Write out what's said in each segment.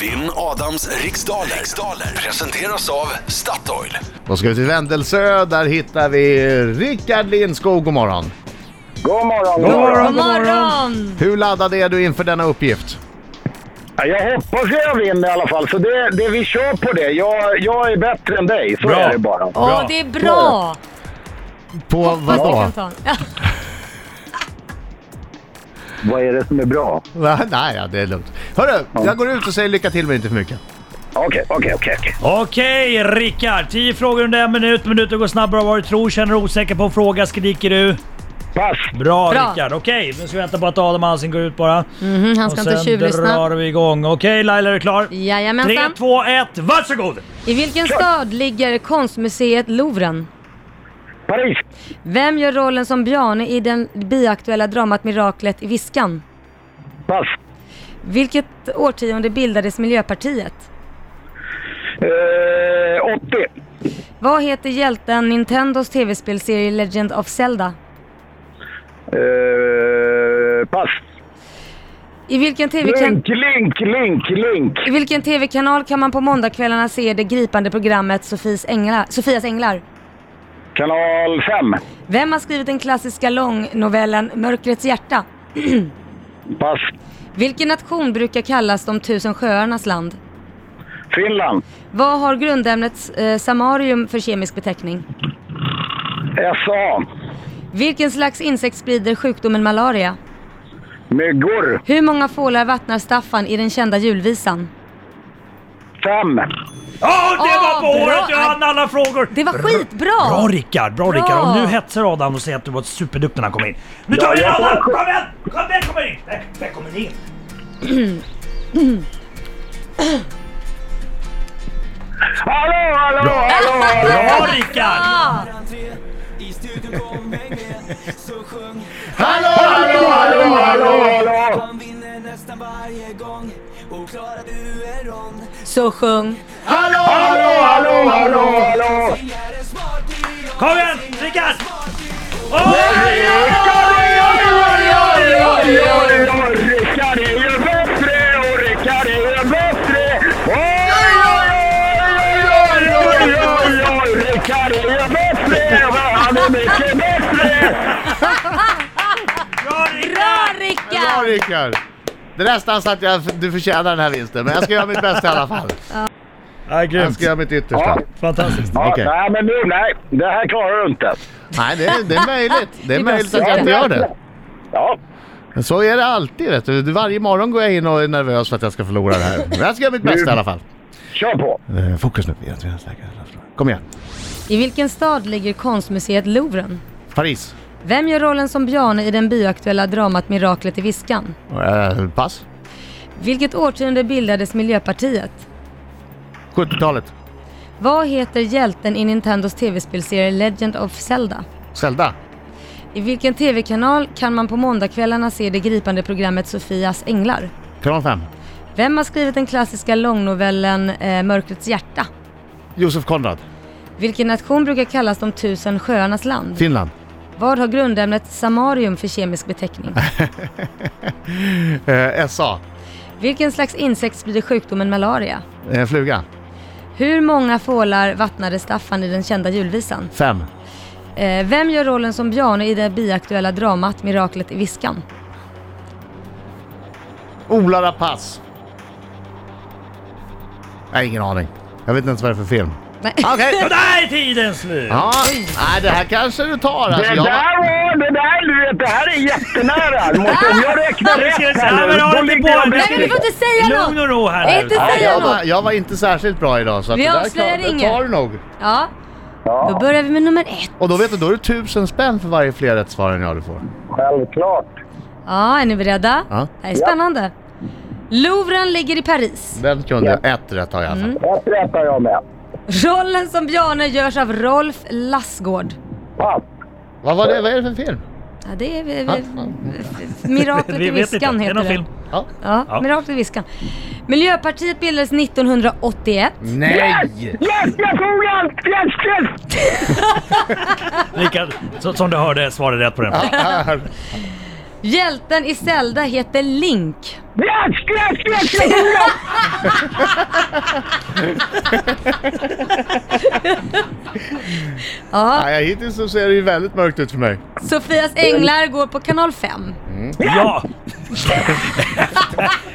Vinn Adams riksdaler. riksdaler presenteras av Statoil. Då ska vi till Vändelsö, där hittar vi Rickard Lindskog. God morgon. God morgon, God morgon. God morgon! Hur laddad är du inför denna uppgift? Ja, Jag hoppas jag vinner i alla fall, så det, det, vi kör på det. Jag, jag är bättre än dig, så Bra. är det bara. Åh, Bra. det är bra! På Fast vi vadå? kan ta en. Ja, Vad är det som är bra? Nej, nej, ja, det är lugnt. Hörru, jag går ut och säger lycka till men inte för mycket. Okej, okej, okej. okej. Okej, Rickard. 10 frågor under en minut. Minuten går snabbare än vad du tror. Känner du osäker på en fråga skriker du. Pass! Bra. Bra, Rickard. Okej, nu ska vi vänta på att Adam Alsing går ut bara. Mhm, han Och ska inte sen tjuvlyssna. drar vi igång. Okej Laila, är du klar? Tre, Jajamensan. två, ett, varsågod! I vilken stad ligger konstmuseet Louvren? Paris! Vem gör rollen som Bjarne i den biaktuella dramat Miraklet i Viskan? Pass! Vilket årtionde bildades Miljöpartiet? Eh, 80! Vad heter hjälten Nintendos tv-spelserie Legend of Zelda? Eh, pass! I vilken tv-kanal Link, link, link, link! I vilken TV-kanal kan man på måndagskvällarna se det gripande programmet Sofies änglar, Sofias änglar? Kanal 5. Vem har skrivit den klassiska långnovellen Mörkrets hjärta? Pass! Vilken nation brukar kallas de tusen sjöarnas land? Finland. Vad har grundämnet eh, samarium för kemisk beteckning? SA. Vilken slags insekt sprider sjukdomen malaria? Myggor. Hur många fålar vattnar Staffan i den kända julvisan? 5. Åh, det Åh, var på bra. året! Du hann alla frågor! Det var skitbra! Bra Rickard, bra, Bra. Rickard. Om du hetsar Adam och säger att du var superduktig när han kom in. Nu tar Ja, vi jag får- Adam! Kom igen! Kom igen, kom in! Där- Där kommer in! Hallå, hallå, hallå! Bra Rickard! Ja, I studion kom häng med, så sjung Hallå, hallå, hallå, hallå, hallå! Han vinner nästan varje gång Och klarar du en rond så sjung! Hallå, hallå, hallå, hallå! Är en smarting Kom igen Rickard! Åh, Rickard är ju bättre och Rickard är ju bättre! Oj, oj, oj, oj, oj, oj, oj! Rickard är ju bättre! Han är mycket bättre! Bra Rickard! Bra Bra Rickard! Rickard! Det är nästan så att jag, du förtjänar den här vinsten, men jag ska göra mitt bästa i alla fall. Ja, Jag grymt. ska göra mitt yttersta. Ja. Fantastiskt. Ja, Okej. Nej, men nu, nej. Det här klarar du inte. Nej, det är, det är möjligt. Det Det är är möjligt bra att jag inte gör det. Ja, Men så är det alltid vet du. Varje morgon går jag in och är nervös för att jag ska förlora det här. Men jag ska göra mitt bästa i alla fall. kör på. Eh, Fokus nu. Jag tror jag säkert- Kom igen. I vilken stad ligger konstmuseet Louvren? Paris. Vem gör rollen som Bjarne i den bioaktuella dramat Miraklet i Viskan? Eh, pass. Vilket årtionde bildades Miljöpartiet? 70-talet. Vad heter hjälten i Nintendos tv-spelserie Legend of Zelda? Zelda. I vilken tv-kanal kan man på måndagskvällarna se det gripande programmet Sofias änglar? Kanal 5. Vem har skrivit den klassiska långnovellen eh, Mörkrets hjärta? Josef Konrad. Vilken nation brukar kallas de tusen sjöarnas land? Finland. Vad har grundämnet samarium för kemisk beteckning? Eh, SA. Vilken slags insekt sprider sjukdomen malaria? Eh, fluga. Hur många fålar vattnade Staffan i den kända julvisan? 5. Eh, vem gör rollen som Bjarne i det biaktuella dramat Miraklet i Viskan? Ola Rapace. Nej, ingen aning. Jag vet inte ens vad det är för film. Ah, Nej. Okej. Och där är tiden slut! Ja, nej, det här kanske du tar alltså. Det Jag- där var, det där, du vet, det här är jättenära. Du måste- Om jag räknar Vi ska- rätt Nej, här men ha nu, då lite ligger jag boll. Nej men vi bättre. får inte säga Lugn något! och ro här nu. Inte Nej, säga jag, var, något! jag var inte särskilt bra idag så att Vi det där avslöjar klar- det inget. tar du nog. Ja, då Ja, börjar vi med nummer ett. Och då vet du, då är det tusen spänn för varje fler rätt svar än jag du får. självklart. Ja, är ni beredda? Ja. Det här är spännande. Louvren ligger i Paris. Den kunde jag. Ett rätt har jag i Mm. alla fall. Ett rätt har jag med. Rollen som Bjarne görs av Rolf Lassgård. Pass. Vad var det? Vad är det för film? Ja, det är vi, Ja. vi, Miraklet i Vi vet inte. Viskan Det är heter någon det. film. Ja. Ja, Ja. Miraklet i Viskan. Miljöpartiet bildades 1981. Mm. Nej! Yes, jag tog allt! Yes, yes! Rickard, så, som du hörde svarade rätt på den. Här. Hjälten i Zelda heter Link. Glatt, glatt, glatt, glatt, glatt! Ja. Nej, hittills så ser det ju väldigt mörkt ut för mig. Sofias änglar går på kanal 5. Ja!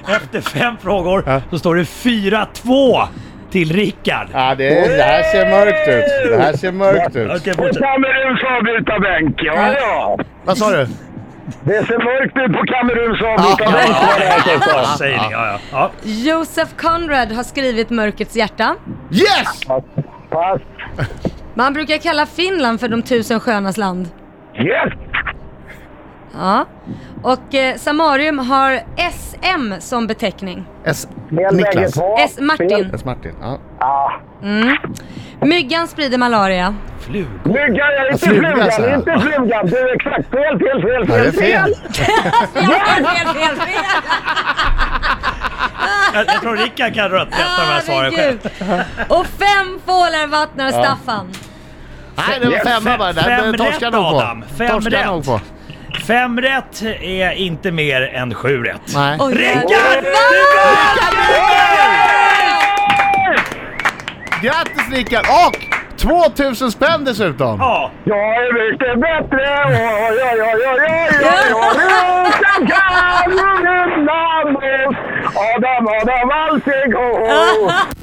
Efter fem frågor så står det 4-2 till Rickard. Ja, det, det här ser mörkt ut. Det här ser mörkt ut. Okej, På fortsätt. Kameruns avbyta bänk, ja, ja. Vad sa du? Det ser mörkt ut på Kameruns avbyta bänk. var det här jag sa. Säger ni, ja, ja. ja. Joseph Conrad har skrivit Mörkrets hjärta. Yes! Pass. Man brukar kalla Finland för de tusen skönas land. Yes! Ja. Och eh, Samarium har SM som beteckning. S. Fel bägge Niklas. två. S. Martin. Fel. S. Martin. Ja. Ja. Myggan sprider malaria. Flugor. Myggan, ja, inte Fluga, sa flugan, jag. inte flugan. Du, exakt. Fel, fel, fel, Ja, det är fel, fel. fel. Fel, fel, fel, fel! Jag, jag tror Rickard kan rätta de här svaren själv. Ah, Herregud. Och fem fålar vattnar Staffan. Nej, det var femma bara. Det här Fem torskar rätt, nog Adam. på. Fem Torskar rätt. nog på. Fem rätt är inte mer än sju rätt. Nej. Oj, Rickard! jävlar. Grattis Rickard! Och 2000 spänn dessutom! Ja, Jag är mycket bättre, oj, oj, oj, oj, oj, oj, oj, Utan kan du namn Adam, Adam, allting, oh, oh.